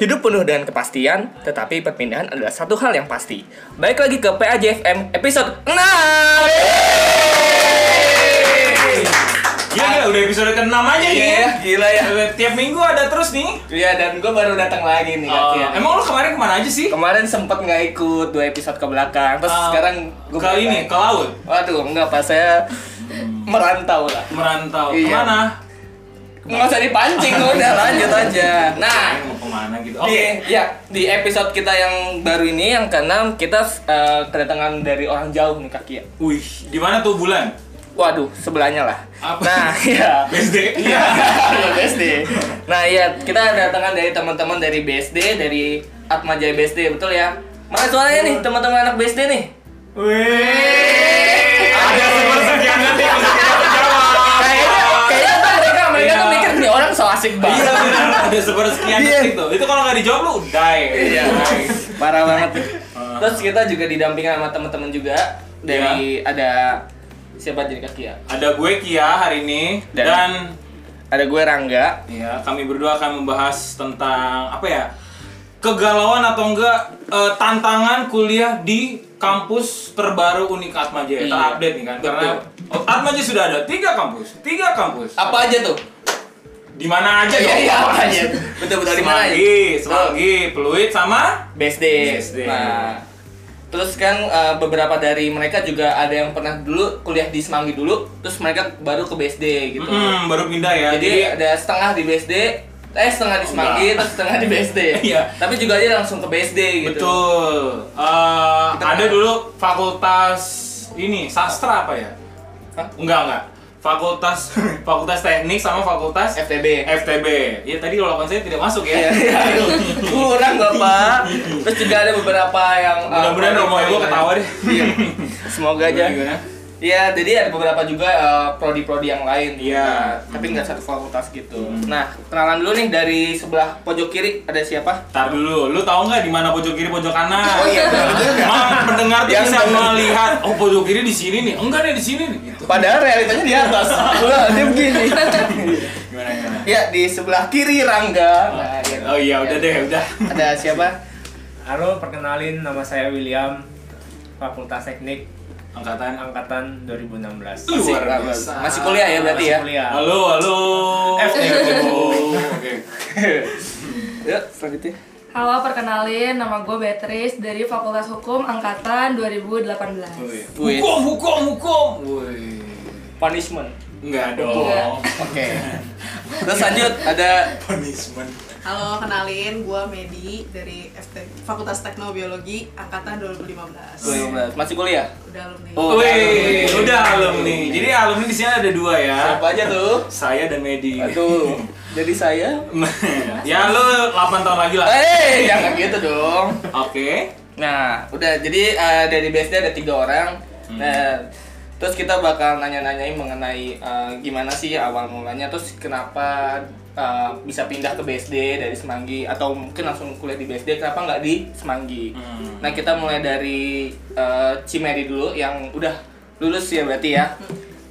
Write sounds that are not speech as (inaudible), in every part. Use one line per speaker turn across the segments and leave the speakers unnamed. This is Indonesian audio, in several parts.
Hidup penuh dengan kepastian, tetapi perpindahan adalah satu hal yang pasti. Baik lagi ke PAJFM episode 6.
Iya gila, udah episode ke-6 aja
Iya,
ya.
gila ya.
Tiap minggu ada terus nih.
Iya dan gue baru datang lagi nih akhirnya.
Oh.
emang lu kemarin kemana aja sih?
kemarin sempet nggak ikut dua episode ke belakang, terus
Oh.
Ah,
sekarang gue
ke ini, ke laut.
Waduh, enggak pas saya merantau lah.
Merantau.
Iya.
Kemana?
Nggak usah
(laughs)
dipancing, udah lanjut aja. Nah,
Kayaknya mau kemana gitu. Oke.
Di, ya, di episode kita yang baru ini yang keenam kita eh, kedatangan dari orang jauh nih kaki ya.
Wih, di mana tuh bulan?
Waduh, sebelahnya lah.
Apa? (laughs)
Nah, ya.
BSD.
(laughs) Iya, lu BSD. Nah, iya, kita kedatangan dari teman-teman dari BSD, dari Atmajaya BSD, betul ya? Mana suaranya nih, teman-teman anak BSD nih?
Wih. Ada sepersekian nanti yang tidak terjawab.
Kayaknya, kayaknya tuh mereka, mereka tuh mikir nih orang so asik banget.
Iya benar, ada sepersekian detik tuh. Itu kalau nggak dijawab lu die. (laughs)
Iya,
Die.
parah banget.
Uh.
Terus kita juga didampingin sama teman-teman juga
Iya.
dari ada siapa jadi kaki ya?
Ada gue Kia hari ini
Dan-
dan
Ada gue Rangga,
Ya, kami berdua akan membahas tentang apa ya? Kegalauan atau enggak eh, tantangan kuliah di kampus terbaru Unik Atmaja
Iya.
terupdate nih kan karena oh, Atmaja sudah ada tiga kampus, tiga kampus.
apa aja tuh?
Di mana aja
Iya,
dong?
iya, apa aja? Betul-betul di mana aja?
Semanggi, Semanggi, Peluit sama
BSD.
BSD.
Nah, terus kan eh, beberapa dari mereka juga ada yang pernah dulu kuliah di Semanggi dulu, terus mereka baru ke BSD gitu.
Mm, baru pindah ya.
Jadi
Jadi, Oh,
ada setengah di BSD, eh setengah di Semanggi,
Enggak.
terus setengah di BSD.
(laughs) Iya.
Tapi juga dia langsung ke BSD gitu.
betul. Eh, ada dulu fakultas ini sastra apa ya?
Hah?
Enggak, enggak. Fakultas (laughs) Fakultas Teknik sama Fakultas
FTB.
FTB. Ya tadi lawan saya tidak masuk
Iya,
ya.
iya. (laughs) kurang bapak terus juga ada beberapa yang uh,
Mudah-mudahan
prodi-
Romo Ego ketawa deh.
(laughs) Iya. semoga aja
Gimana?
Iya, jadi ada beberapa juga uh, prodi-prodi yang lain.
Iya. Hmm.
Nah, tapi nggak satu fakultas gitu. Nah, kenalan dulu nih dari sebelah pojok kiri ada siapa?
Tar dulu, lu tahu nggak di mana pojok kiri pojok kanan?
Oh iya, bener juga.
Emang pendengar tuh
Yang
bisa
bener.
melihat, oh pojok kiri di sini nih, enggak nih di sini nih. Gitu.
Padahal realitanya di
(laughs)
atas. Wah, dia begini. (laughs)
Gimana gimana?
ya, di sebelah kiri Rangga. Nah, iya.
Oh iya, udah deh, udah.
Ada siapa?
Halo, perkenalin nama saya William, Fakultas Teknik
Angkatan.
angkatan 2016.
Masih,
Luar biasa.
masih kuliah ya berarti
Masih
ya.
kuliah.
Iya. Halo, halo.
FTB.
Oke.
(laughs) Yuk, selanjutnya.
Halo, perkenalin nama gue Beatrice dari Fakultas Hukum Angkatan 2018.
Wih.
Wih.
Hukum, hukum, hukum. Wih.
Punishment.
Enggak dong.
Iya.
Enggak.
Oke. Terus lanjut ada
Punishment.
Halo, kenalin gue Medi dari FT, Fakultas Teknobiologi Angkatan
12.
2015.
Masih kuliah?
Udah alumni.
Oh.
Wih, udah alumni. Jadi alumni di sini ada dua ya.
Iya. Siapa aja tuh?
Saya dan Medi.
Aduh. Jadi saya
(laughs) ya lu 8 tahun lagi lah.
Eh, jangan gitu dong.
Oke.
Nah, udah jadi eh, dari BSD ada tiga orang. Nah, terus kita bakal nanya-nanyain mengenai eh, gimana sih awal mulanya, terus kenapa eh, bisa pindah ke BSD dari Semanggi atau mungkin langsung kuliah di BSD, kenapa nggak di Semanggi?
Hmm.
Nah, kita mulai dari eh, Cimeri dulu yang udah lulus ya berarti ya.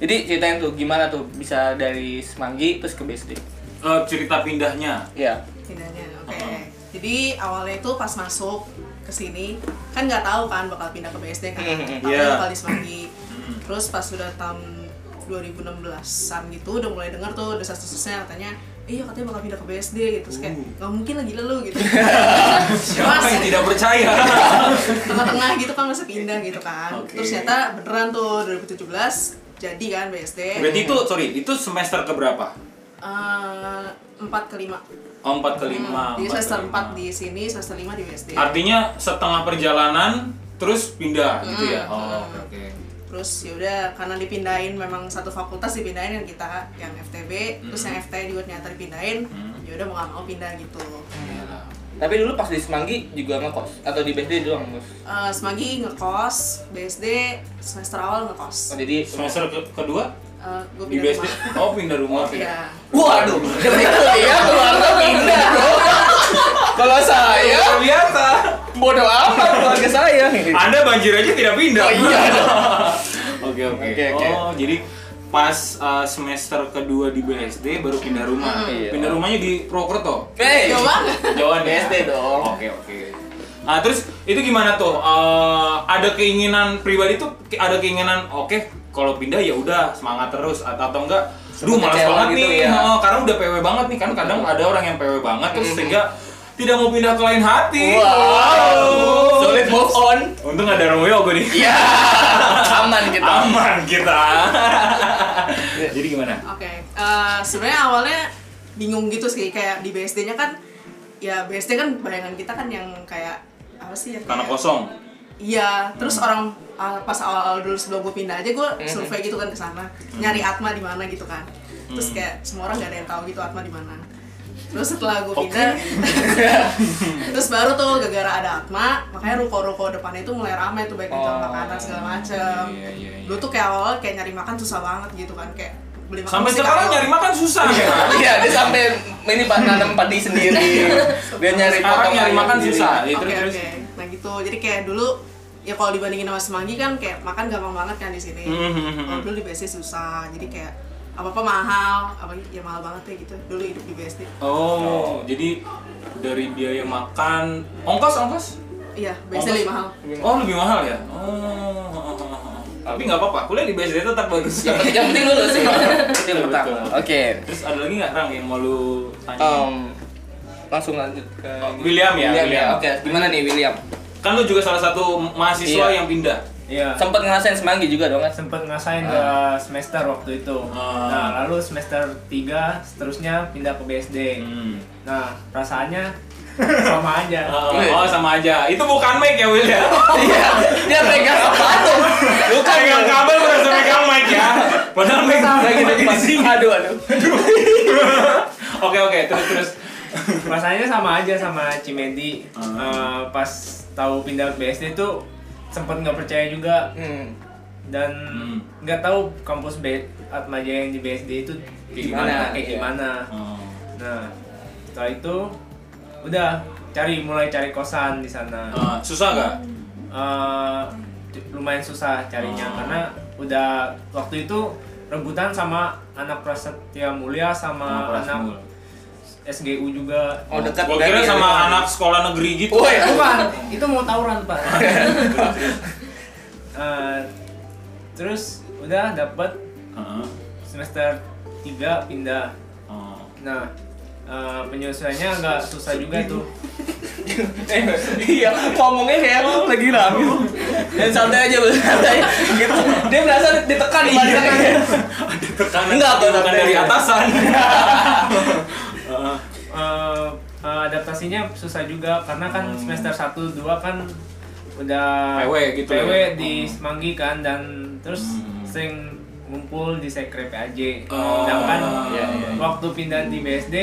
Jadi ceritain tuh gimana tuh bisa dari Semanggi terus ke BSD.
Eh, cerita pindahnya.
Ya.
Pindahnya, oke.
Uh-uh.
Jadi awalnya itu pas masuk ke sini kan nggak tahu kan bakal pindah ke BSD kan,
Mm-mm.
tapi
Iya.
bakal di Semanggi.
Mm.
Terus pas sudah tahun 2016-an gitu udah mulai denger tuh desas-desusnya katanya iya katanya bakal pindah ke BSD gitu terus kayak
Uh.
nggak mungkin lagi gila lu gitu
(laughs) Siapa yang tidak
(laughs)
percaya?
tengah-tengah gitu kan masa pindah gitu kan
Oke.
terus ternyata beneran tuh 2017 jadi kan BSD
Berarti itu, sorry, itu semester keberapa?
Eh, empat ke lima
Oh,
Hmm,
4 ke 5.
jadi semester empat di sini semester lima di BSD
Artinya setengah perjalanan terus pindah gitu
Hmm.
ya. Oh, oke oke.
terus yaudah karena dipindahin memang satu fakultas dipindahin yang kita yang FTB terus yang FT juga ternyata dipindahin
Hmm.
yaudah mau nggak mau pindah gitu
Iyalah.
Tapi dulu pas di Semanggi juga ngekos atau di BSD doang ngekos.
Eh, semanggi ngekos BSD semester awal ngekos
Oh, jadi
Semester ke- kedua
Eh, gue
di
pindah
BSD.
rumah
Oh, pindah rumah.
Iya.
Waduh, dari kuliah ya, keluarga pindah bro. Kalau saya
Luar biasa.
bodoh amat keluarga saya.
Anda banjir aja tidak pindah.
Oh, iya.
(laughs) Oke oke.
Oke, oke.
Oh jadi pas uh, semester kedua di BSD baru pindah rumah.
Hmm,
Iya.
Pindah rumahnya di Prokerto.
(laughs) Hey,
Jauh banget.
Jawa deh.
BSD dong.
Oke oke. Nah terus itu gimana tuh? Eh, ada keinginan pribadi tuh ada keinginan oke kalau pindah ya udah semangat terus atau, atau enggak? Duh
Sempat
malas
kecewa
banget
gitu
nih,
ya.
Heeh, karena udah PW banget nih kan kadang ada orang yang PW banget terus sehingga tidak mau pindah ke lain hati.
Hmm. Wow. Sulit move on.
Untung ada Romeo gue nih.
Iya. Aman kita.
Aman kita. Jadi gimana?
Oke, eh, sebenarnya awalnya bingung gitu sih kayak di BSD-nya kan ya BSD kan bayangan kita kan yang kayak apa sih ya?
Tanah
kayak-
kosong.
Iya, terus
Hmm.
orang uh, pas awal-awal dulu sebelum gue pindah aja gue survei gitu kan ke sana,
Hmm.
nyari Atma di mana gitu kan. Terus kayak semua orang gak ada yang tahu gitu Atma di mana. Terus setelah gue
(laughs)
pindah, terus baru tuh gara-gara ada Atma, makanya ruko-ruko depannya itu mulai ramai tuh baik jual
Oh.
makanan segala macem.
Iya, iya, iya.
Dulu tuh kayak awal kayak nyari makan susah banget gitu kan kayak beli makan
Sampai
mesti
sekarang
kayak-
nyari makan susah.
Iya, dia sampai ini pak nanam padi sendiri. Dia nyari
Sekarang
potongan
nyari makan
sendiri.
susah. Ya,
Oke
terus-
oke.
terus.
Nah gitu. Jadi kayak dulu ya kalau dibandingin sama Semanggi kan kayak makan gampang banget kan di sini.
Mhm.
Kalau dulu di BSD susah. Jadi kayak apa-apa mahal, apa ya mahal banget ya gitu. Dulu hidup di BSD.
Oh, jadi dari biaya makan, ongkos ongkos?
Iya,
Ongkos?
BSD lebih mahal.
Oh, lebih mahal ya? Oh. Tapi nggak apa-apa, kuliah di BSD tetap bagus.
Yang penting lulus sih. Itu yang
Betul,
pertama.
betul.
Oke.
(laughs) Terus ada lagi nggak Rang yang mau lu tanya?
Em, langsung lanjut ke
William ya,
William,
William.
ya. Oke, gimana nih William?
Kan lu juga salah satu mahasiswa
Iya.
yang pindah.
Iya.
Sempat ngerasain semanggi juga dong kan?
Sempet ngasain
Ah.
ke semester waktu itu.
Ah.
Nah, lalu semester 3 seterusnya pindah ke BSD.
Hmm.
Nah,
(laughs)
perasaannya sama aja.
Eh, oh sama aja. Itu bukan mic ya Will ya?
Iya, dia pegang apa tuh? Bukan
Pegang kabel berasa pegang mic ya. Padahal mic
Kayak gitu
di sini.
Aduh, aduh.
Oke oke terus terus.
Rasanya sama aja sama Cimedi.
Ah.
Eh, pas tahu pindah ke BSD tuh sempet nggak percaya juga
Hmm.
dan
Hmm.
nggak tahu kampus B Atmajaya yang di BSD itu
Kayak
gimana,
kayak
iya.
gimana.
Oh.
Nah, setelah itu udah cari mulai cari kosan di sana.
Eh, susah nggak?
Eh, c- lumayan susah carinya
Oh.
karena udah waktu itu rebutan sama anak Prasetya Mulia
Sama
sama
kelas
anak
mulu.
SGU juga. Eh,
Oh, dekat
Gua
berarti
kira
ya,
sama
dekat.
anak sekolah negeri gitu.
Woi,
Bukan, (laughs) itu mau tawuran pak. (laughs) Eh, terus udah dapet
Heeh.
semester 3 pindah.
Oh.
Nah, eh, penyesuaiannya agak susah juga tuh.
Eh, iya, ngomongnya kayak lagi rame. Dan santai aja, bro, santai. Gitu. Dia merasa ditekan di
Ada tekanan.
Enggak,
bukan
tapi-
dari (laughs) atasan. Heeh.
eh eh, adaptasinya susah juga karena kan
Hmm.
semester 1 2 kan udah
PW gitu
PW
ya?
di
Hmm.
Semanggi kan dan terus
Hmm.
sering ngumpul di sekre PAJ.
Oh.
Sedangkan
Iya, iya, iya.
waktu pindah di BSD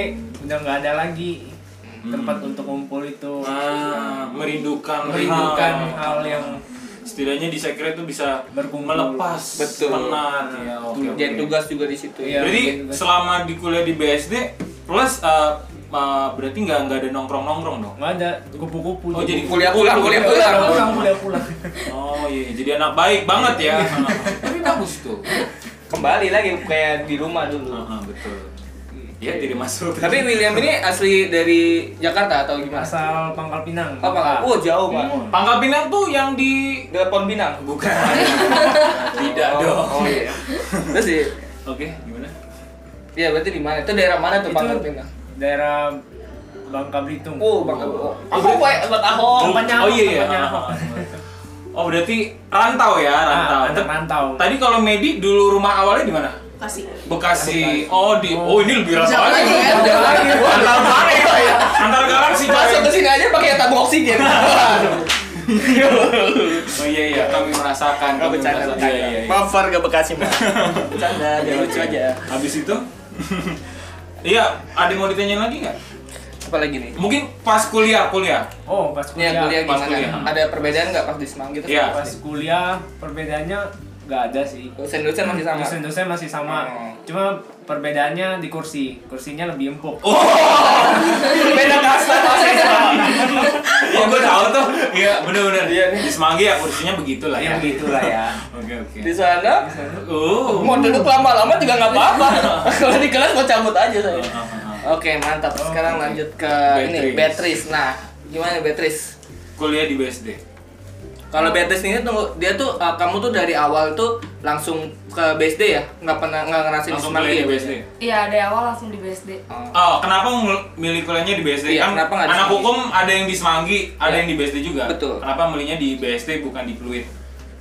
udah nggak ada lagi tempat untuk ngumpul itu.
Hmm. Ah, merindukan
Merindukan
hal.
hal yang
Setidaknya di sekret tuh bisa
Berkumpul.
melepas
Betul.
penat ya. oke, oke.
Jadi tugas juga di situ.
Iya.
Jadi
tugas.
selama di kuliah di BSD plus eh, eh, berarti nggak nggak ada nongkrong nongkrong dong.
nggak ada
Oh,
kupu-kupu.
jadi
Kuliah pulang, kuliah pulang.
pulang, pulang, kuliah pulang.
Oh iya, jadi anak baik banget ya. (laughs) Tapi bagus tuh.
Kembali lagi kayak di rumah dulu.
Heeh, betul. Iya, jadi masuk.
Tapi William ini asli dari Jakarta atau gimana?
Asal Pangkal Pinang.
Apa kak? Oh, jauh, Pak.
Pangkal Pinang tuh yang di
Dekat Pohon Pinang.
bukan. (laughs) Tidak dong.
Oh, iya. Terus sih,
Oke, gimana?
Iya, berarti di mana? Itu daerah mana tuh
Itu
Pangkal Pinang?
Daerah Bangka Belitung.
Oh, Bangka. Oh, aku kayak buat Ahok.
Oh,
tempatnya
oh
apa,
iya iya.
tempatnya
Ah,
apa.
ah, ah. Oh berarti rantau ya rantau.
Ah, anak
Tep-
rantau.
Tadi kalau Medi dulu rumah awalnya di mana?
Kasih.
Bekasi. Oh di. Oh ini lebih rantau
Jauh lagi
lagi.
ya.
Ada lagi. Wah, lama banget ya.
Antar galaksi
Masuk ke
coy.
sini aja pakai tabung oksigen. iya.
Oh iya iya. Kami
Gak
merasakan. kami
bercanda,
merasakan.
bercanda.
Iya, iya, iya.
Maaf, Far, gak Bekasi, Mas. Bercanda,
Oke,
biar lucu
oke.
aja.
Habis itu. Iya, ada yang mau ditanyain lagi nggak?
Apa lagi nih?
Mungkin pas kuliah, kuliah.
Oh, pas
Ini yang Iya, kuliah
pas
gimana?
kuliah.
gitu? Ada perbedaan nggak pas di Semanggi? terus
Iya.
pas kuliah perbedaannya nggak ada sih
Dosen-dosen masih sama.
dosen-dosen masih sama
Hmm.
cuma perbedaannya di kursi kursinya lebih empuk
Beda kasta.
Oh, gue tahu tuh. Iya, bener-bener.
Iya nih.
Di Semanggi ya kursinya begitulah ya.
ya begitulah ya
(laughs) Oke, oke.
Di sana
Uh.
mau duduk lama-lama juga nggak apa-apa. Kalau di kelas mau cabut aja saya. Iya, Oke mantap. Sekarang lanjut ke ini
Beatrice.
Beatrice. Nah gimana Beatrice?
Kuliah di BSD.
Kalau Beatrice ini tuh dia tuh uh, kamu tuh dari awal tuh langsung ke BSD ya? Nggak pernah nggak ngerasain
Langsung
Semanggi
kuliah di
ya,
BSD.
Iya, dari awal langsung di BSD.
Oh, kenapa ngel- milih kuliahnya di BSD?
Iya,
kan
kenapa nggak di
anak
Semanggi?
hukum ada yang di Semanggi, ada
Iya.
yang di BSD juga.
Betul.
Kenapa milihnya di BSD bukan di Pluit?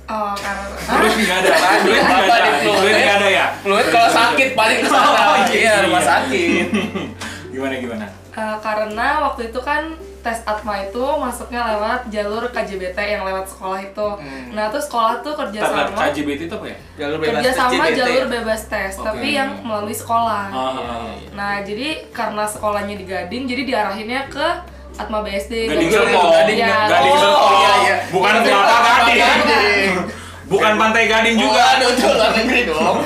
Oh, karena
(laughs) Pluit nggak ada.
Apaan?
Pluit nggak
Apa
ada.
di Pluit?
Pluit nggak ada ya.
Fluid kan kalau sakit paling ke
Oh,
sana.
iya,
Iya, rumah
iya.
sakit.
(laughs) Gimana gimana?
Eh, karena waktu itu kan tes atma itu masuknya lewat jalur KJBT yang lewat sekolah itu.
Hmm.
Nah, tuh sekolah tuh kerjasama
Tata KJBT itu apa ya?
Jalur bebas
kerjasama
CBT.
jalur bebas tes,
Oke.
tapi yang melalui sekolah.
Ah, ah, ah.
Nah, jadi karena sekolahnya di Gading, jadi diarahinnya ke Atma BSD.
Gading
Jadi-
Serpong.
Gading- Iya.
Gading
Oh,
Serpong.
iya, iya.
Bukan
Gading
kelapa
Serpong,
gading.
Gading. Oh.
Bukan pantai gading
juga
juga.
aduh tuh luar negeri
(laughs)
dong.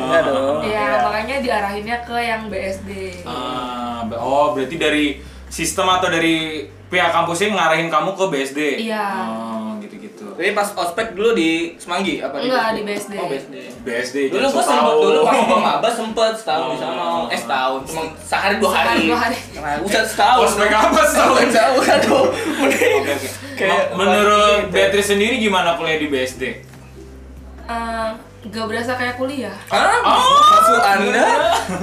Enggak dong.
Iya, makanya diarahinnya ke yang BSD.
Ah, be- oh berarti dari sistem atau dari pihak kampusnya ngarahin kamu ke BSD?
Iya.
Oh gitu-gitu.
Jadi pas ospek dulu di Semanggi apa
Enggak, di BSD.
Oh, BSD.
BSD
Dulu
jangan
gua
sok
sempet
tahu.
dulu pas
(laughs)
gua maba sempet setahun di sana.
Iya, Oh.
Eh setahun, cuma sehari dua hari.
Sehari, dua hari.
Nah, udah setahun.
Ospek apa setahun?
Setahun, aduh. Mending.
Oke, oke.
Kayak- gitu ya.
Ma- Menurut Beatrice sendiri gimana kuliah di BSD?
Eh, gak berasa kayak kuliah.
Ah,
Hah?
Oh,
Maksud Anda?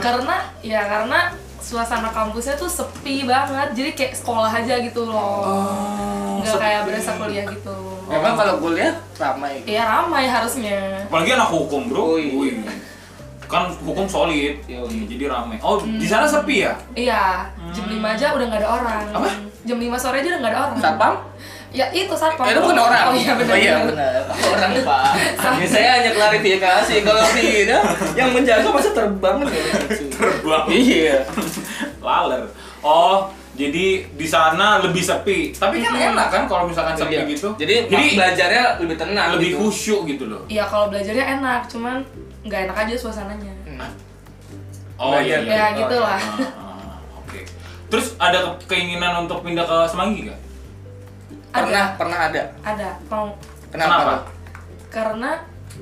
karena ya karena suasana kampusnya tuh sepi banget. Jadi kayak sekolah aja gitu loh.
Oh,
Oh,
Enggak kayak berasa kuliah gitu.
Memang kalau kuliah ramai.
Iya ramai harusnya.
Apalagi anak hukum bro.
Ui.
Ui. Kan hukum solid,
Oh, Iya,
Iya, jadi rame. Oh, di sana sepi ya?
Iya, jam 5 aja udah nggak ada orang.
Apa?
Jam 5 sore aja udah nggak ada orang.
Satpam?
Ya itu satpam.
Eh, itu bukan orang.
Oh iya benar.
benar. Orang, Pak. Ya, saya hanya klarifikasi kalau tidak yang menjaga masa terbang ya.
Terbang.
Iya.
Laler. Oh, jadi di sana lebih sepi. Tapi kan
Mhm.
enak kan kalau misalkan sepi
Iya.
gitu.
Jadi, belajarnya lebih tenang
lebih
gitu.
khusyuk gitu loh.
Iya kalau belajarnya enak, cuman nggak enak aja suasananya.
Hmm.
Oh
Belajar.
iya. iya.
Ya gitu lah. (laughs)
Ah, ah, Oke. Terus ada ke- keinginan untuk pindah ke Semanggi gak?
Pernah pernah ada.
Ada. Mau
Kenapa?
Kenapa?
Pak?
karena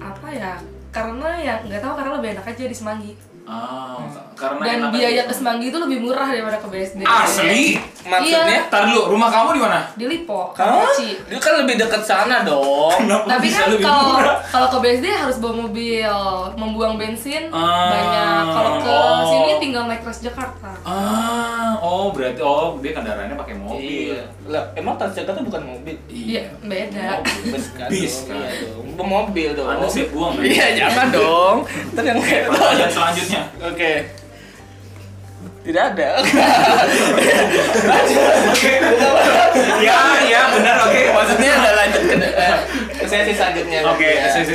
apa ya? Karena ya nggak tahu karena lebih enak aja di Semanggi.
Ah, karena
Hmm. Dan
enak
biaya
aja.
ke Semanggi itu lebih murah daripada ke BSD.
Asli.
Maksudnya?
Iya.
Tar dulu, rumah kamu di mana?
Di Lipo,
Hah?
Karawaci.
Dia kan lebih dekat sana dong.
Kenapa
Tapi
bisa
kan
lebih
kalau
murah?
kalau ke BSD harus bawa mobil, membuang bensin
Ah,
banyak. Kalau ke
oh.
sini tinggal naik Transjakarta.
Ah, oh berarti oh dia kendaraannya pakai mobil.
Iya. Lah, emang Transjakarta bukan mobil.
Iya, beda.
Oh.
Bus kan.
Bis
dong.
kan.
Iya dong. Mobil dong.
Anda sih buang. ya?
Iya, jangan dong. Ntar yang
Iya.
(laughs) Pertanyaan selanjutnya.
Oke. Tidak ada.
ya, ya benar oke.
Maksudnya ada lanjut ke eh, ke sesi
Iya,
selanjutnya.
Oke,
Ya.
sesi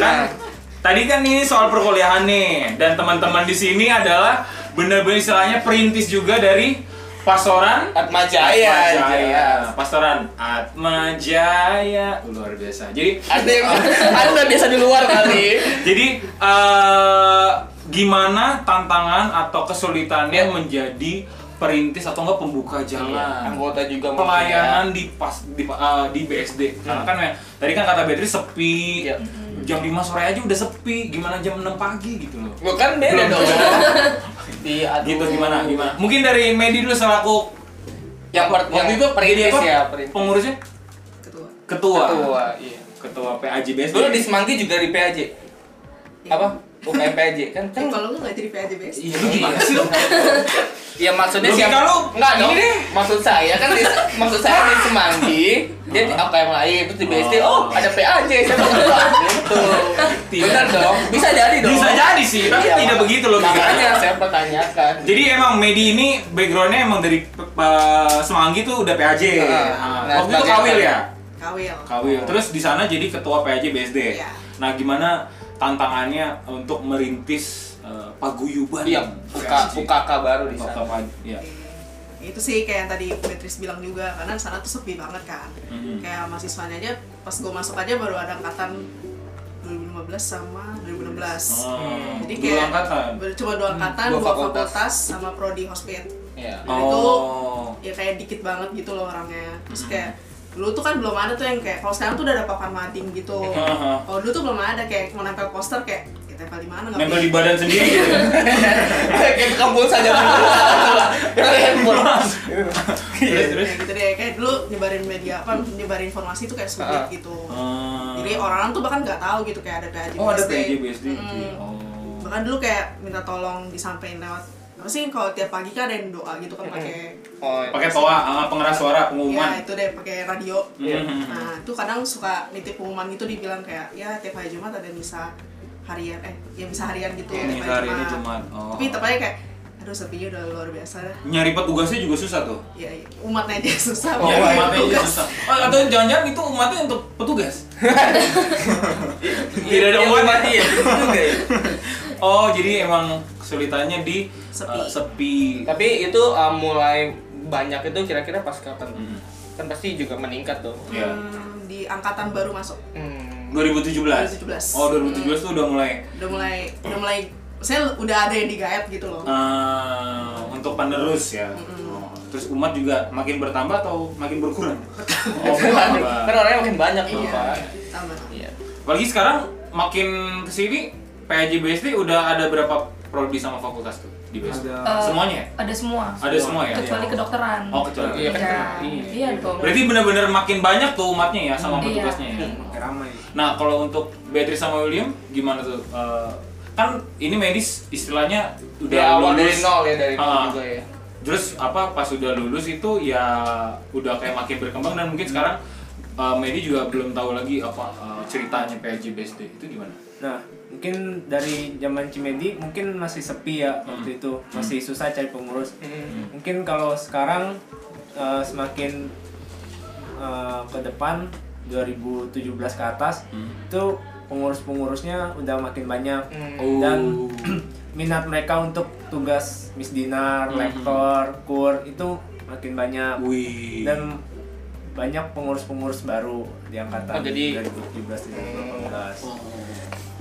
Nah.
Kan tadi kan ini soal perkuliahan nih dan teman-teman di sini adalah benar-benar istilahnya perintis juga dari Pastoran
Atma Jaya.
Jaya.
Jaya.
Pastoran Atma Jaya. Luar biasa. Jadi
Ada yang Anda biasa di luar kali.
Jadi eh, gimana tantangan atau
Ya.
kesulitannya menjadi perintis atau enggak pembuka jalan
Anggota Iya, juga maksudnya.
pelayanan di pas di eh, di BSD karena kan ya, tadi kan kata Beatrice sepi
Iya.
jam 5 sore aja udah sepi gimana jam 6 pagi gitu loh
Bukan kan beda
Belum.
dong. Di aduh.
gitu gimana gimana mungkin dari Medi dulu selaku
Yang per, yang itu perintis
apa?
ya, perintis.
Iya, pengurusnya
ketua
ketua
Ketua, iya.
ketua PAJ BSD
Dulu di Semanggi juga di PAJ. Apa? Bukan PAJ kan?
Eh,
kan
kalau lu nggak jadi PADBS
iya lu gimana sih lu
Ya maksudnya
Logika
siapa?
lu,
Enggak dong.
ini deh.
Maksud saya kan di,
(laughs)
maksud saya di Semanggi dia di apa yang lain terus di BSD
Oh.
oh, ada PAJ
(laughs)
siapa gitu.
Tidak.
Benar dong. Bisa jadi dong.
bisa jadi sih tapi
Iya,
tidak
mak-
begitu loh
Makanya saya pertanyakan.
Jadi emang Medi ini backgroundnya emang dari eh, Semanggi tuh udah PAJ.
Heeh.
Nah,
Nah,
waktu itu
sebagai
Kawil
apa?
ya.
kawil
Kawil. Terus di sana jadi ketua PAJ BSD.
Iya.
Nah gimana tantangannya untuk merintis eh, paguyuban?
Iya, buka
PAJ?
UKK baru di
Buka
sana.
pag- Iya.
itu sih kayak yang tadi Beatrice bilang juga karena sana tuh sepi banget kan
Mhm.
kayak mahasiswanya aja pas gue masuk aja baru ada angkatan 2000 2015 sama 2016.
Oh,
Jadi
dua
kayak
angkatan. Hmm,
ber- cuma dua angkatan,
dua
dua fakultas.
fakultas.
sama prodi hosped.
Iya. (laughs)
Dan
Oh.
itu ya kayak dikit banget gitu loh orangnya. Terus kayak dulu tuh kan belum ada tuh yang kayak kalau sekarang tuh udah ada papan mading gitu.
Hahaha.
Kalau dulu tuh belum ada kayak mau nempel poster kayak kita tempel di mana nggak
Nempel
punya.
di badan sendiri gitu.
(laughs)
ya?
Kayak ke kampus
(laughs)
aja
Terus terus.
Kayak gitu deh kayak dulu nyebarin media apa nyebarin informasi tuh kayak sulit
Ah.
gitu.
Ah.
Jadi orang tuh bahkan nggak tahu gitu kayak ada PAJ
Oh, ada
BSD.
PJ BSD.
Mm.
Oh.
bahkan dulu kayak minta tolong disampaikan lewat apa sih kalau tiap pagi kan ada yang doa gitu kan pakai
Oh,
Pakai toa, ah, pengeras suara,
ya
pengumuman.
itu deh pakai radio
Hmm.
nah itu kadang suka nitip pengumuman gitu dibilang kayak ya tiap hari Jumat ada misa harian eh ya misa harian gitu
Ini
tiap
hari ini Jumat. Oh.
tapi tepatnya kayak aduh sepinya udah luar biasa dah
Nyari petugasnya juga susah tuh.
ya umatnya aja (laughs) susah
Oh,
Nyari
bukan
Iya, umatnya juga
tugas.
susah. Oh, atau jangan-jangan itu umatnya untuk
(laughs)
petugas?
Tidak
Iya,
ada umat mati ya. gitu juga ya.
iya. Oh, jadi emang kesulitannya di
Sepi.
eh, sepi.
Tapi itu uh, mulai banyak itu kira-kira pas kapan?
Hmm.
Kan pasti juga meningkat dong.
Ya.
Hmm, di angkatan baru masuk
Hmm.
2017.
2017.
Oh, 2017
Hmm.
tuh udah mulai
udah mulai udah mulai saya udah ada yang digaet gitu loh
Ah, eh, untuk penerus ya.
Hmm.
Oh. Terus umat juga makin bertambah atau makin
(laughs)
berkurang? Oh, bertambah.
(laughs) Kan orangnya makin banyak tuh,
iya
Pak.
tambah
Iya.
Apalagi sekarang makin kesini PAJ BSD udah ada berapa prodi sama fakultas tuh di BSD?
Ada.
Eh,
Semuanya ya?
Ada semua.
Ada semua ya?
Kecuali kedokteran.
Oh kecuali.
Iya kan?
Iya,
Iya.
iya dong.
Berarti bener-bener makin banyak tuh umatnya ya sama
Hmm, iya.
petugasnya ya.
Makin ramai.
Nah kalau untuk Beatrice sama William gimana tuh? Eh, kan ini medis istilahnya udah
Udah awal dari
lulus.
nol ya dari nol
Ah.
juga ya.
Terus apa pas udah lulus itu ya udah kayak makin berkembang dan mungkin sekarang eh, Medi juga belum tahu lagi apa eh, ceritanya PAJ BSD itu gimana?
Nah, mungkin dari zaman Cimedi mungkin masih sepi ya waktu itu, masih susah cari pengurus. Mungkin kalau sekarang eh, semakin eh, ke depan 2017 ke atas itu pengurus-pengurusnya udah makin banyak
Hmm.
Oh.
dan minat mereka untuk tugas misdinar,
Hmm.
lektor, kur itu makin banyak
Wih.
dan banyak pengurus-pengurus baru di
Oh,
angkatan
jadi- Oh,
2017 2018.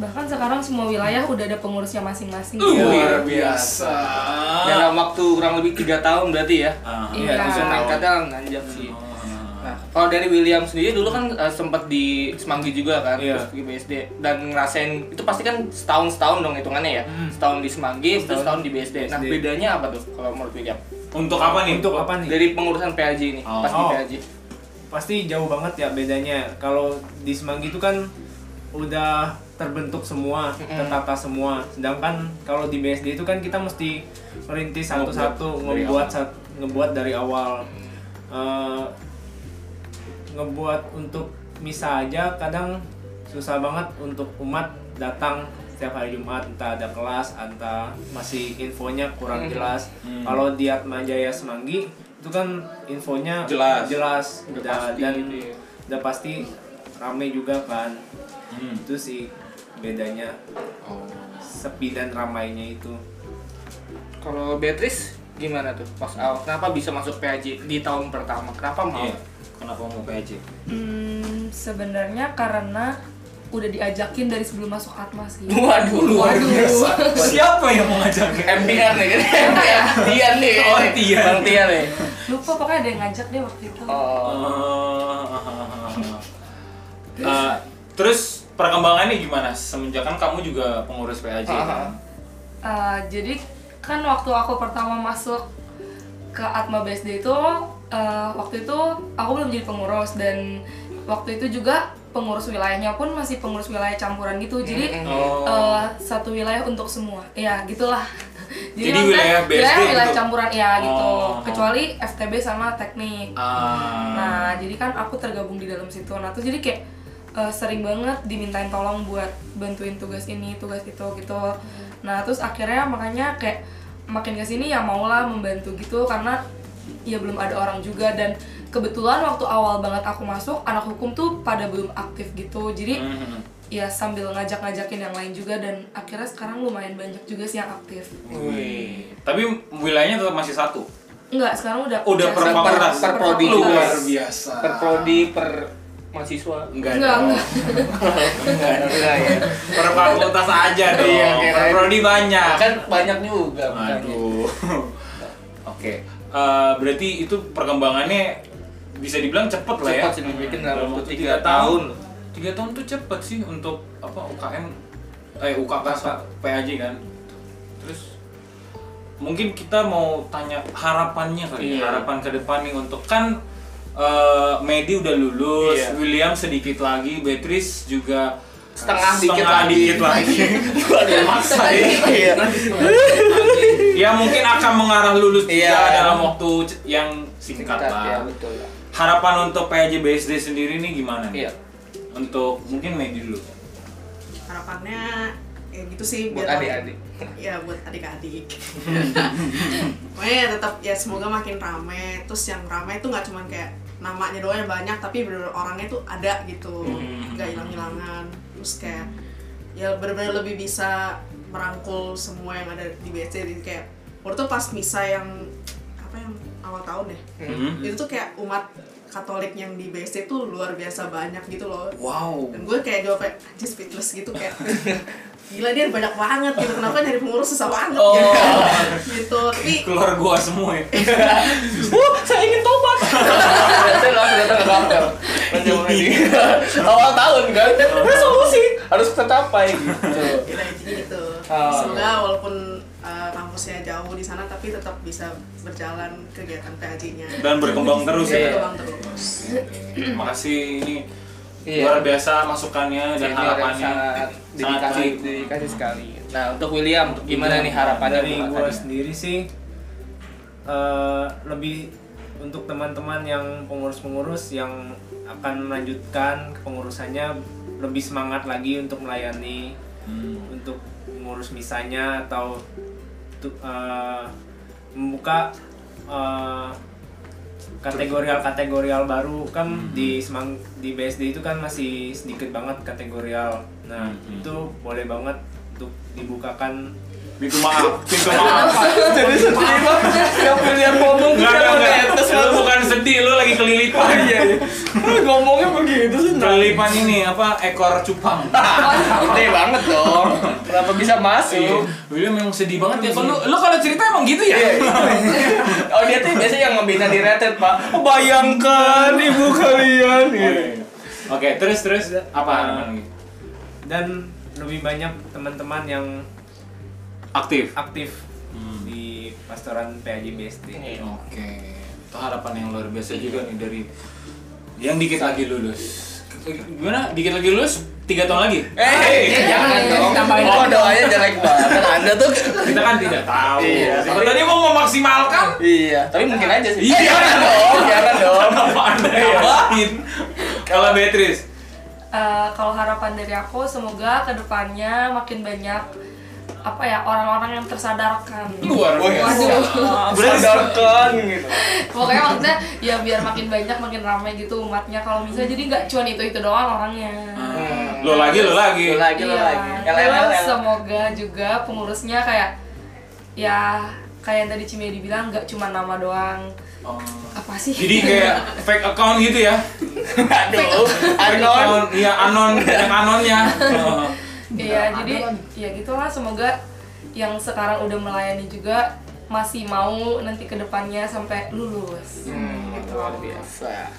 Bahkan sekarang semua wilayah udah ada pengurusnya masing-masing.
Luar biasa.
Iya. Dalam waktu kurang lebih tiga tahun berarti ya.
Ah.
Iya.
Itu kadang nanjak sih. Nah, kalau dari William sendiri dulu kan eh, sempat di Semanggi juga kan,
Iya.
terus di BSD dan ngerasain itu pasti kan setahun setahun dong hitungannya ya, setahun di Semanggi, terus setahun di BSD. Nah
BSD.
bedanya apa tuh kalau menurut William?
Untuk apa nih?
Untuk apa nih?
Dari pengurusan PAJ ini,
Oh.
pas di
Oh.
PAJ.
pasti jauh banget ya bedanya. Kalau di Semanggi itu kan udah terbentuk semua, tertata semua. Sedangkan kalau di BSD itu kan kita mesti merintis
Ngebuat
satu-satu,
dari
ngebuat
awal. Mm.
sat- ngebuat dari awal. Eh, ngebuat untuk misa aja kadang susah banget untuk umat datang setiap hari Jumat entah ada kelas entah masih infonya kurang jelas kalau di Atmajaya Semanggi itu kan infonya
Jelas.
jelas
Udah
udah
pasti
dan
gitu ya.
udah pasti rame juga kan
Hmm.
itu sih bedanya
Oh.
sepi dan ramainya itu
Kalau Beatrice gimana tuh pas awal? Kenapa bisa masuk PAJ di tahun pertama? Kenapa mau?
Iya. Kenapa mau PAJ?
Hmm, sebenarnya karena udah diajakin dari sebelum masuk Atma sih.
Waduh, luar
Waduh.
biasa.
(laughs) Siapa yang mau (laughs) ngajak?
MPR nih, kan? (laughs) Tian nih,
Oh, Tian.
Bang Tian nih.
(laughs) Lupa pokoknya ada yang ngajak deh waktu itu.
Oh.
Eh, Ah. terus perkembangannya gimana? Semenjak kan kamu juga pengurus PAJ
Aha.
kan?
Eh, jadi kan waktu aku pertama masuk ke Atma BSD itu eh, waktu itu aku belum jadi pengurus dan waktu itu juga pengurus wilayahnya pun masih pengurus wilayah campuran gitu jadi
Oh.
eh, satu wilayah untuk semua ya gitulah
Jadi
maksudnya
wilayah BSD
wilayah, wilayah
untuk-
campuran ya gitu
Oh.
kecuali FTB sama teknik
Ah.
Nah, jadi kan aku tergabung di dalam situ. Nah, terus jadi kayak eh, sering banget dimintain tolong buat bantuin tugas ini, tugas itu gitu. Nah, terus akhirnya makanya kayak makin ke sini ya maulah membantu gitu karena ya belum ada orang juga dan kebetulan waktu awal banget aku masuk anak hukum tuh pada belum aktif gitu. Jadi
Mhm.
ya sambil ngajak-ngajakin yang lain juga dan akhirnya sekarang lumayan banyak juga sih yang aktif.
Wih. Tapi wilayahnya tetap masih satu.
Enggak, sekarang udah
Udah Iya, per
per-
fakultas.
per prodi
fakultas.
juga.
biasa.
per prodi per mahasiswa
Enggak.
Enggak,
dong.
enggak.
enggak enggak ya
Per fakultas aja dong.
Iya, kirain.
per prodi banyak.
kan banyak juga makanya.
Nah, Aduh. (laughs) Oke. Eh, berarti itu perkembangannya bisa dibilang cepet lah ya.
Cepet sih, dibikin dalam
Dalam
waktu
waktu
tiga
tiga tahun.
tahun.
Tiga tahun tuh cepet sih untuk apa UKM eh UKK sa- PAJ kan. Terus mungkin kita mau tanya harapannya kali ya,
Iya.
harapan ke depan nih untuk kan eh, Medi udah lulus,
Iya.
William sedikit lagi, Beatrice juga
setengah dikit
setengah
lagi
dikit
(laughs)
lagi. Maksa ya.
Iya.
ya mungkin akan mengarah lulus juga
Iya.
dalam waktu c- yang singkat
Singkat, ya,
lah.
betul lah.
Harapan untuk PAJ BSD sendiri nih gimana? nih?
Iya.
Untuk mungkin Medi dulu.
harapannya ya gitu sih
Buat
Iya.
biar-
adik-adik.
(laughs) ya buat adik-adik pokoknya tetap ya semoga makin rame terus yang rame itu nggak cuman kayak namanya doang yang banyak tapi bener orangnya tuh ada gitu nggak hilang-hilangan terus kayak ya bener-bener lebih bisa merangkul semua yang ada di BC jadi kayak waktu itu pas misa yang apa yang awal tahun ya
(laughs)
Hmm.
itu tuh kayak umat Katolik yang di BC tuh luar biasa banyak gitu loh
Wow.
dan gue kayak jawab kayak anjir speechless gitu kayak (laughs) gila dia banyak banget gitu kenapa nyari pengurus susah banget
Oh.
gitu gitu tapi
Keluar gua semua ya.
Uh, saya ingin
(laughs)
tobat. Saya langsung datang ke kantor. Menjawab
(laughs)
lagi. Awal tahun kan, resolusi harus tercapai gitu.
kita gitu
Oh.
semoga walaupun eh, kampusnya jauh di sana tapi tetap bisa berjalan kegiatan PAJ-nya
Dan berkembang terus ya.
berkembang terus
Makasih ini
Iya.
luar biasa masukannya
Jadi
dan harapannya
sangat
sangat
dikasih
baik. Iya.
dikasih sekali. Nah, untuk William gimana nih harapannya
dari
buat
gue
Anda? (laughs)
sendiri sih eh, lebih untuk teman-teman yang pengurus-pengurus yang akan melanjutkan pengurusannya lebih semangat lagi untuk melayani
Hmm.
untuk mengurus misalnya atau tu- eh, membuka eh, kategorial-kategorial baru kan
Hmm.
di semang di BSD itu kan masih sedikit banget kategorial. Nah,
Hmm.
itu boleh banget untuk dibukakan
Pintu maaf,
(laughs)
pintu maaf.
Jadi sedih banget. Yang William ngomong tuh kan
Enggak,
kayak
enggak,
kayak atas
enggak. Lu bukan sedih, lu lagi kelilipan.
(laughs) Iya, iya. Ngomongnya begitu sih.
Kelilipan ini apa ekor cupang.
Gede banget dong. Kenapa bisa masuk?
William memang sedih banget ya. Kalau lu- lu kalau cerita emang gitu
Iya,
ya. (laughs)
Oh dia tuh biasanya yang membina di Reddit pak. Bayangkan ibu kalian. gitu.
Iya, Oke, terus terus apa lagi?
dan lebih banyak teman-teman yang
Aktif.
aktif
Hmm.
di pastoran PAJ BSD.
Iya.
Oke. Itu harapan yang luar biasa juga nih dari yang dikit lagi lulus. Gimana? Dikit lagi lulus? Tiga tahun lagi?
Eh, jangan dong.
Ditambahin.
Oh, doanya jelek banget. (laughs) Anda tuh
Kita kan tidak tahu.
Iya.
Siapa Tadi mau memaksimalkan.
Iya, tapi mungkin aja sih.
Iya.
jangan dong, jangan dong.
Apa anda ngapain? Iya. Kalau Beatrice,
Eh, kalau harapan dari aku semoga kedepannya makin banyak apa ya orang-orang yang tersadarkan
luar biasa.
Sadarkan gitu.
pokoknya maksudnya ya biar makin banyak makin ramai gitu umatnya kalau misalnya jadi nggak cuman itu itu doang orangnya
Hmm. Lo lagi, lo lagi.
Lu lagi, lu
Iya.
lagi. LLL.
Terus semoga juga pengurusnya kayak ya kayak yang tadi Cimedi bilang nggak cuma nama doang
Oh.
apa sih?
Jadi kayak fake account gitu ya?
Aduh,
Fake
anon.
account, Iya anon, banyak anonnya. Oh.
Iya, jadi ya gitulah semoga yang sekarang udah melayani juga masih mau nanti ke depannya sampai lulus.
Hmm, luar biasa.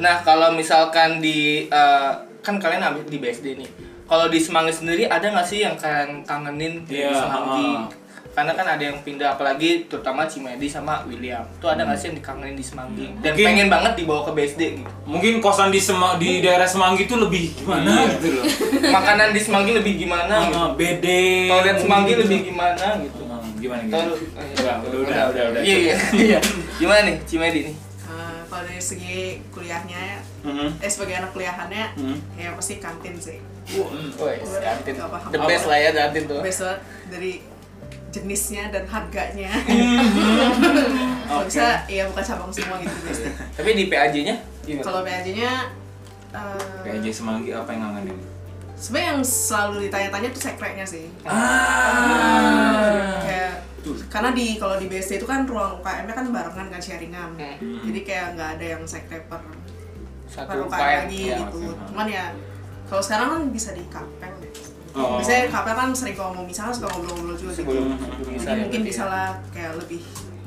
Nah, kalau misalkan di eh, kan kalian ambil di BSD nih. Kalau di Semanggi sendiri ada nggak sih yang kalian kangenin dari
Iya,
Semanggi?
ah.
Karena kan ada yang pindah apalagi terutama Cimedi sama William. Tuh ada nggak sih yang dikangenin di Semanggi dan
Hmm. Iya. Mungkin-
pengen banget dibawa ke BSD gitu.
Mungkin kosan di Sema- di daerah Semanggi itu lebih gimana gitu loh.
Makanan di Semanggi lebih gimana Iya. gitu.
Sama bede.
Toilet Semanggi
mungkin.
lebih gimana gitu.
Hmm, gimana
Tahu
gitu.
lu-
Iya. Udah, udah, udah, udah, udah.
Iya, (laughs) iya, iya. Gimana nih Cimedi nih?
Eh, kalau dari segi kuliahnya
Mhm.
eh sebagai anak kuliahannya
Hmm.
ya pasti kantin sih
Woi, kantin.
Nggak paham.
The best lah ya kantin tuh.
besok dari jenisnya dan harganya kalau bisa ya bukan cabang semua gitu guys
Tapi di PAJ-nya
kalau PAJ nya eh,
PAJ Semanggi apa yang ngangenin?
sebenarnya yang selalu ditanya-tanya tuh sekretnya sih
Ah.
kayak karena di kalau di BSD itu kan ruang UKM nya kan barengan kan sharingan
Hmm.
jadi kayak nggak ada yang sekre per baru
Satu UKM,
UKM lagi
iya.
gitu cuman ya kalau sekarang kan bisa di kapel deh
Oh.
Biasanya kapel kan sering kalau mau misalnya suka ngobrol-ngobrol juga gitu.
sebelum sebelum bisa
Jadi mungkin
lebih-
bisa lah kayak lebih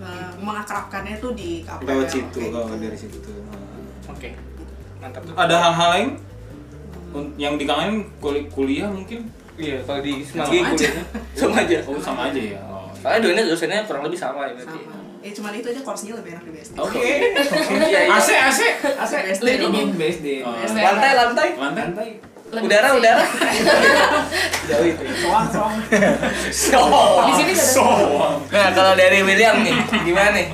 eh, mengakrabkannya tuh di kapel.
lewat situ
kayak
kalau
gitu.
dari situ tuh
Oke. Mantap.
ada hal-hal lain Un- yang dikangenin kul- kuliah mungkin
Iya, kalau di
Sama
Semanggi
aja.
kuliahnya (laughs) sama aja.
oh sama aja ya oh.
Soalnya doanya dosennya kurang lebih sama ya berarti.
Sama. Ya cuman itu aja kursinya lebih enak di BSD.
oke
(laughs) Iya, iya.
AC AC
Asik,
BSD
BSD
dong.
BSD.
Oh.
Lantai, lantai.
lantai
Lantai.
Lebih
Udara,
sih. (laughs)
udara. Jauh itu.
Soang, soang.
Di sini gak ada.
Oh. Nah, kalau dari William nih, gimana nih?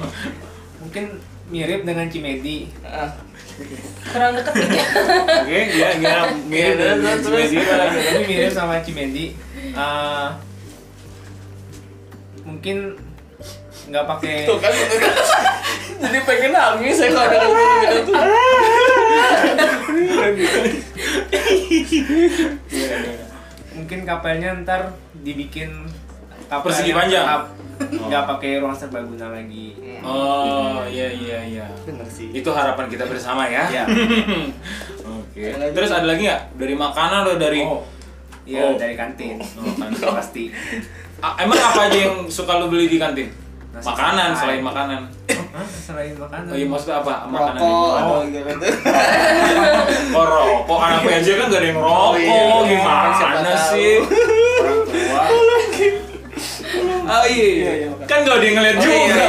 Mungkin mirip dengan Cimedi.
Ah,
Kurang deket nih.
oke iya. gila
(laughs)
gila mirip
Iya, terus, terus.
gila
Tapi mirip sama Cimedi. Eh, mungkin nggak pakai
(laughs) Tuh kan, tuh kan. Jadi pengen nangis saya kalau ada gitu tuh.
iya.
mungkin kapelnya ntar dibikin kapel
Persegi
yang
panjang.
tetap nggak pakai ruang serbaguna lagi
Oh iya iya iya.
Bener sih.
Itu harapan kita bersama ya.
Iya.
(laughs) Oke. Terus ada lagi nggak dari makanan atau dari?
oh iya
Oh.
dari kantin
Oh, kantin.
pasti
A- emang apa aja yang suka lu beli di kantin?
Nasi
makanan
sarai.
selain makanan.
Hah? selain makanan
Oh iya maksudnya apa? Makanan
Rokok
yang-
atau gitu.
Oh rokok. Anak PJ kan gak ada yang
Oh,
rokok.
iya. Siapa
Gimana
tahu.
sih?
Orang (laughs) tua.
Oh
Iya, iya,
iya.
makan.
Kan gak ada yang ngeliat
Oh, iya,
juga.
iya.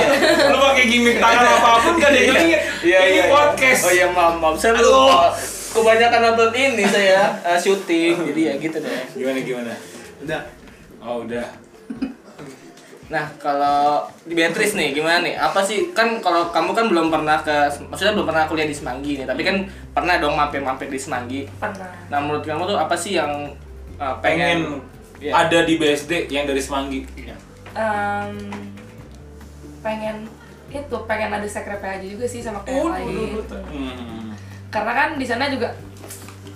Lu pakai gimmick tangan apapun gak ada yang ngeliat.
Iya,
Ini
iya.
podcast.
Oh iya, maaf, maaf. Saya
Aduh.
lupa. Kebanyakan nonton ini saya eh, syuting, jadi ya gitu deh.
Gimana gimana?
udah
Oh udah.
Nah, kalau di Beatrice nih gimana nih? Apa sih kan kalau kamu kan belum pernah ke maksudnya belum pernah kuliah di Semanggi nih, tapi kan pernah dong mampir-mampir di Semanggi.
Pernah.
Nah, menurut kamu tuh apa sih yang uh, pengen,
Pengen
Iya.
ada di BSD yang dari Semanggi.
Em, pengen itu pengen ada sekrepe aja juga sih sama kayak yang lain.
Oh, Hmm.
Karena kan di sana juga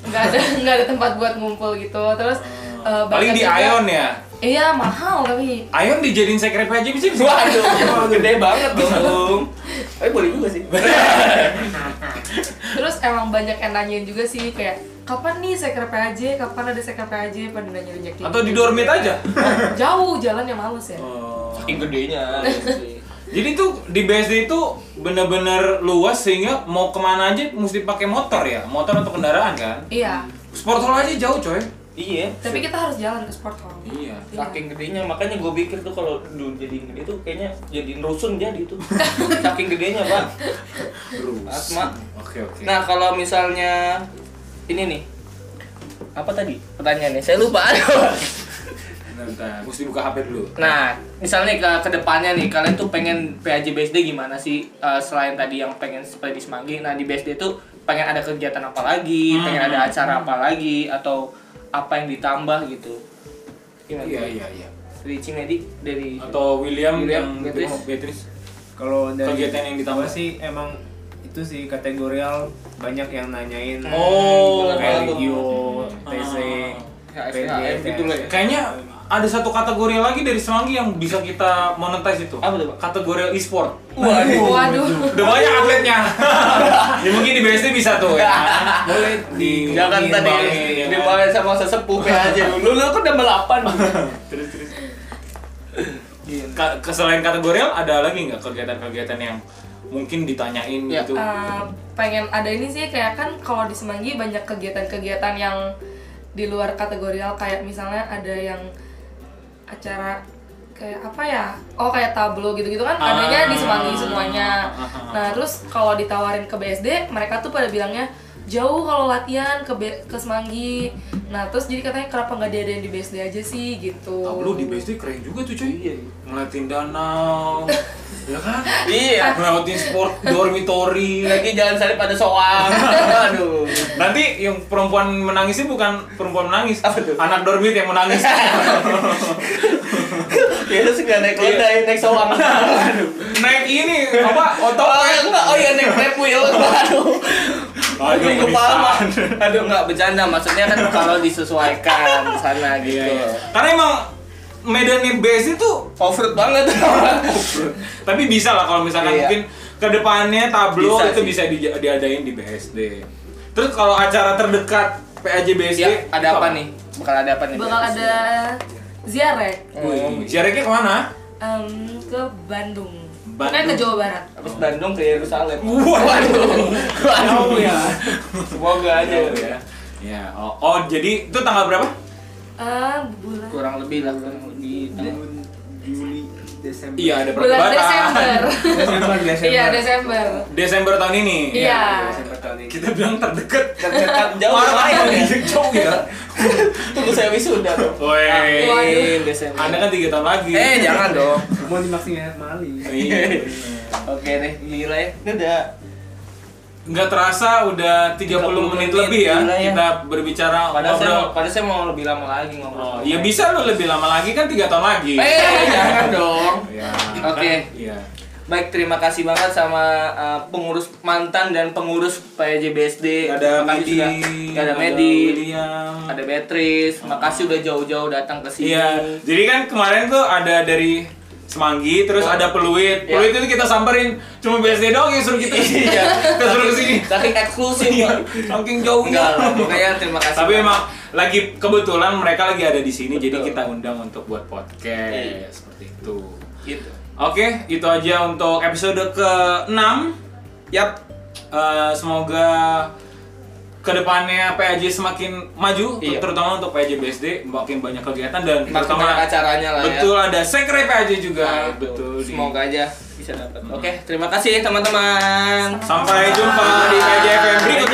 nggak ada (laughs) nggak ada tempat buat ngumpul gitu. Terus eh,
Ah. Paling
banyak
di
juga-
Ion ya.
Iya mahal tapi.
Ion dijadiin sekrep aja bisa bisa.
Waduh, gede banget
(laughs)
dong. Eh boleh juga sih.
Terus emang banyak yang nanyain juga sih kayak kapan nih sekrepe aja, kapan ada sekrepe aja pada nanya nanya gitu. Oh,
Atau di dormit aja.
Jauh jalan yang males ya.
Oh.
Saking gedenya.
Jadi tuh di BSD itu bener-bener luas sehingga mau kemana aja mesti pakai motor ya, motor atau kendaraan kan.
Iya.
Sport hall aja jauh coy.
iya.
Tapi kan kita harus jalan ke sport hall.
Iya.
Iya.
Saking gedenya, makanya gue pikir tuh kalau dulu jadi gede tuh kayaknya jadi rusun jadi tuh. (laughs) Saking gedenya, Bang. Asma.
Oke oke.
Nah, kalau misalnya ini nih. Apa tadi pertanyaannya? Saya lupa. (laughs)
Bentar, bentar. mesti buka HP dulu.
nah, misalnya ke kedepannya nih, kalian tuh pengen PAJ BSD gimana sih? Eh, selain tadi yang pengen seperti di Semanggi, nah di BSD tuh pengen ada kegiatan apa lagi? Pengen ada
Hmm.
acara apa lagi? Atau apa yang ditambah gitu? Gimana?
Iya iya iya.
Dari Cimedi, dari
Atau William,
William,
yang
Beatrice.
Beatrice. Beatrice.
kalau dari
Kegiatan yang ditambah.
gua sih emang itu sih kategorial banyak yang nanyain
Oh,
kayak
betul.
regio TC
Ah.
PJ,
HSKM gitu lah ya.
Kayaknya ada satu kategori lagi dari Semanggi yang bisa kita monetize itu.
Apa tuh, Pak?
Kategori e-sport.
Waduh.
Waduh.
Udah banyak atletnya. (laughs) ya mungkin di BSD bisa tuh ya.
boleh di
Jangan tadi
Diimbangin.
dimulai sama sesepuh (laughs) PAJ dulu, lu kan udah melapan.
terus terus. Ka- ke- selain kategorial ada lagi nggak kegiatan-kegiatan yang mungkin ditanyain
Ya.
gitu?
Eh, pengen ada ini sih kayak kan kalau di Semanggi banyak kegiatan-kegiatan yang di luar kategorial kayak misalnya ada yang acara kayak apa ya oh kayak tablo gitu-gitu kan
Ah.
adanya di Semanggi semuanya
Ah, ah, ah.
nah terus kalau ditawarin ke BSD mereka tuh pada bilangnya jauh kalau latihan ke B- ke Semanggi nah terus jadi katanya kenapa nggak diadain di BSD aja sih gitu
Tablo di BSD keren juga tuh cuy. Ngeliatin danau, (laughs) ya kan?
Iya.
Ngeliatin sport dormitory. ya.
lagi jalan salib ada soang aduh
Nanti yang perempuan menangisnya bukan perempuan menangis,
Apa tuh?
anak dormit yang
(laughs)
menangis.
(laughs) ya terus nggak naik kuda ya naik (laughs) soang aduh
Naik ini apa? ya.
oh enggak oh iya naik naik (laughs) wheel aduh
Aduh,
Aduh, kepala Mak.
penistaan.
aduh nggak bercanda maksudnya kan kalau disesuaikan sana
Iya,
gitu
iya. Karena emang medannya BSD tuh
Overload (laughs) banget
Tapi bisa lah kalau misalkan
Iya.
mungkin kedepannya tablo
Bisa
itu
sih.
bisa di- diadain di BSD. Terus kalau acara terdekat PAJ BSD
Ya, ada
itu
apa nih? Bakal ada apa nih?
Bakal ada ziarah
Wih, Jaraknya kemana?
em, ke Bandung.
Bandung.
Pokoknya ke Jawa Barat.
Habis Bandung ke Yerusalem.
Waduh.
Waduh ya. Semoga aja ya.
ya. Oh, oh, jadi itu tanggal berapa?
Eh, bulan
Kurang lebih lah kurang lebih. tahun-
Juli Desember
Iya, ada
bulan
perdebatan.
Desember.
Desember Desember
Iya, Desember.
Desember tahun ini.
Iya.
Desember tahun ini
Kita bilang terdekat.
Terdekat jauh
Parah
lumayan
ya.
ya.
Jauh ya.
Tunggu saya wisuda dong.
Woi.
Amin, Desember.
Anda kan tiga tahun lagi.
Eh jangan dong.
mau dimaksimalin Mali
Iya.
Oke deh, gila ya. Ini udah
Nggak terasa udah 30,
30
menit
menit,
lebih ya
gila ya.
kita berbicara
padahal saya,
ngobrol.
padahal saya mau lebih lama lagi ngobrol.
Oh, ya bisa lu lebih lama lagi kan tiga tahun lagi.
Eh, jangan dong.
Ya.
Oke.
Iya.
Baik, terima kasih banget sama uh, pengurus mantan dan pengurus PJBSD. Makasih
Ada Medi,
sudah- Iya, ada Medi,
Iya, William.
ada Beatrice. Makasih udah jauh-jauh datang ke sini.
Iya. Jadi kan kemarin tuh ada dari Semanggi, terus
Oh.
ada
Iya.
peluit. Peluit itu kita samperin, cuma BSD doang yang suruh kita.
Iya.
(laughs) kita suruh kesini.
Tapi eksklusif. Pak. Enggak
Saking jauhnya.
lah, pokoknya terima kasih.
Tapi
banget.
emang lagi kebetulan mereka lagi ada di sini, jadi
Betul.
kita undang untuk buat podcast
Iya.
seperti itu.
gitu.
Oke, itu aja untuk episode ke-6. Yap, eh, semoga kedepannya PAJ semakin maju,
Iya.
terutama untuk PAJ BSD makin banyak kegiatan dan
Makin
terutama
banyak acaranya lah ya.
betul ada sekre PAJ juga,
Nah, itu.
betul. di-
Semoga aja bisa dapat. Oke, terima kasih teman-teman.
Sampai jumpa di PAJ FM berikutnya.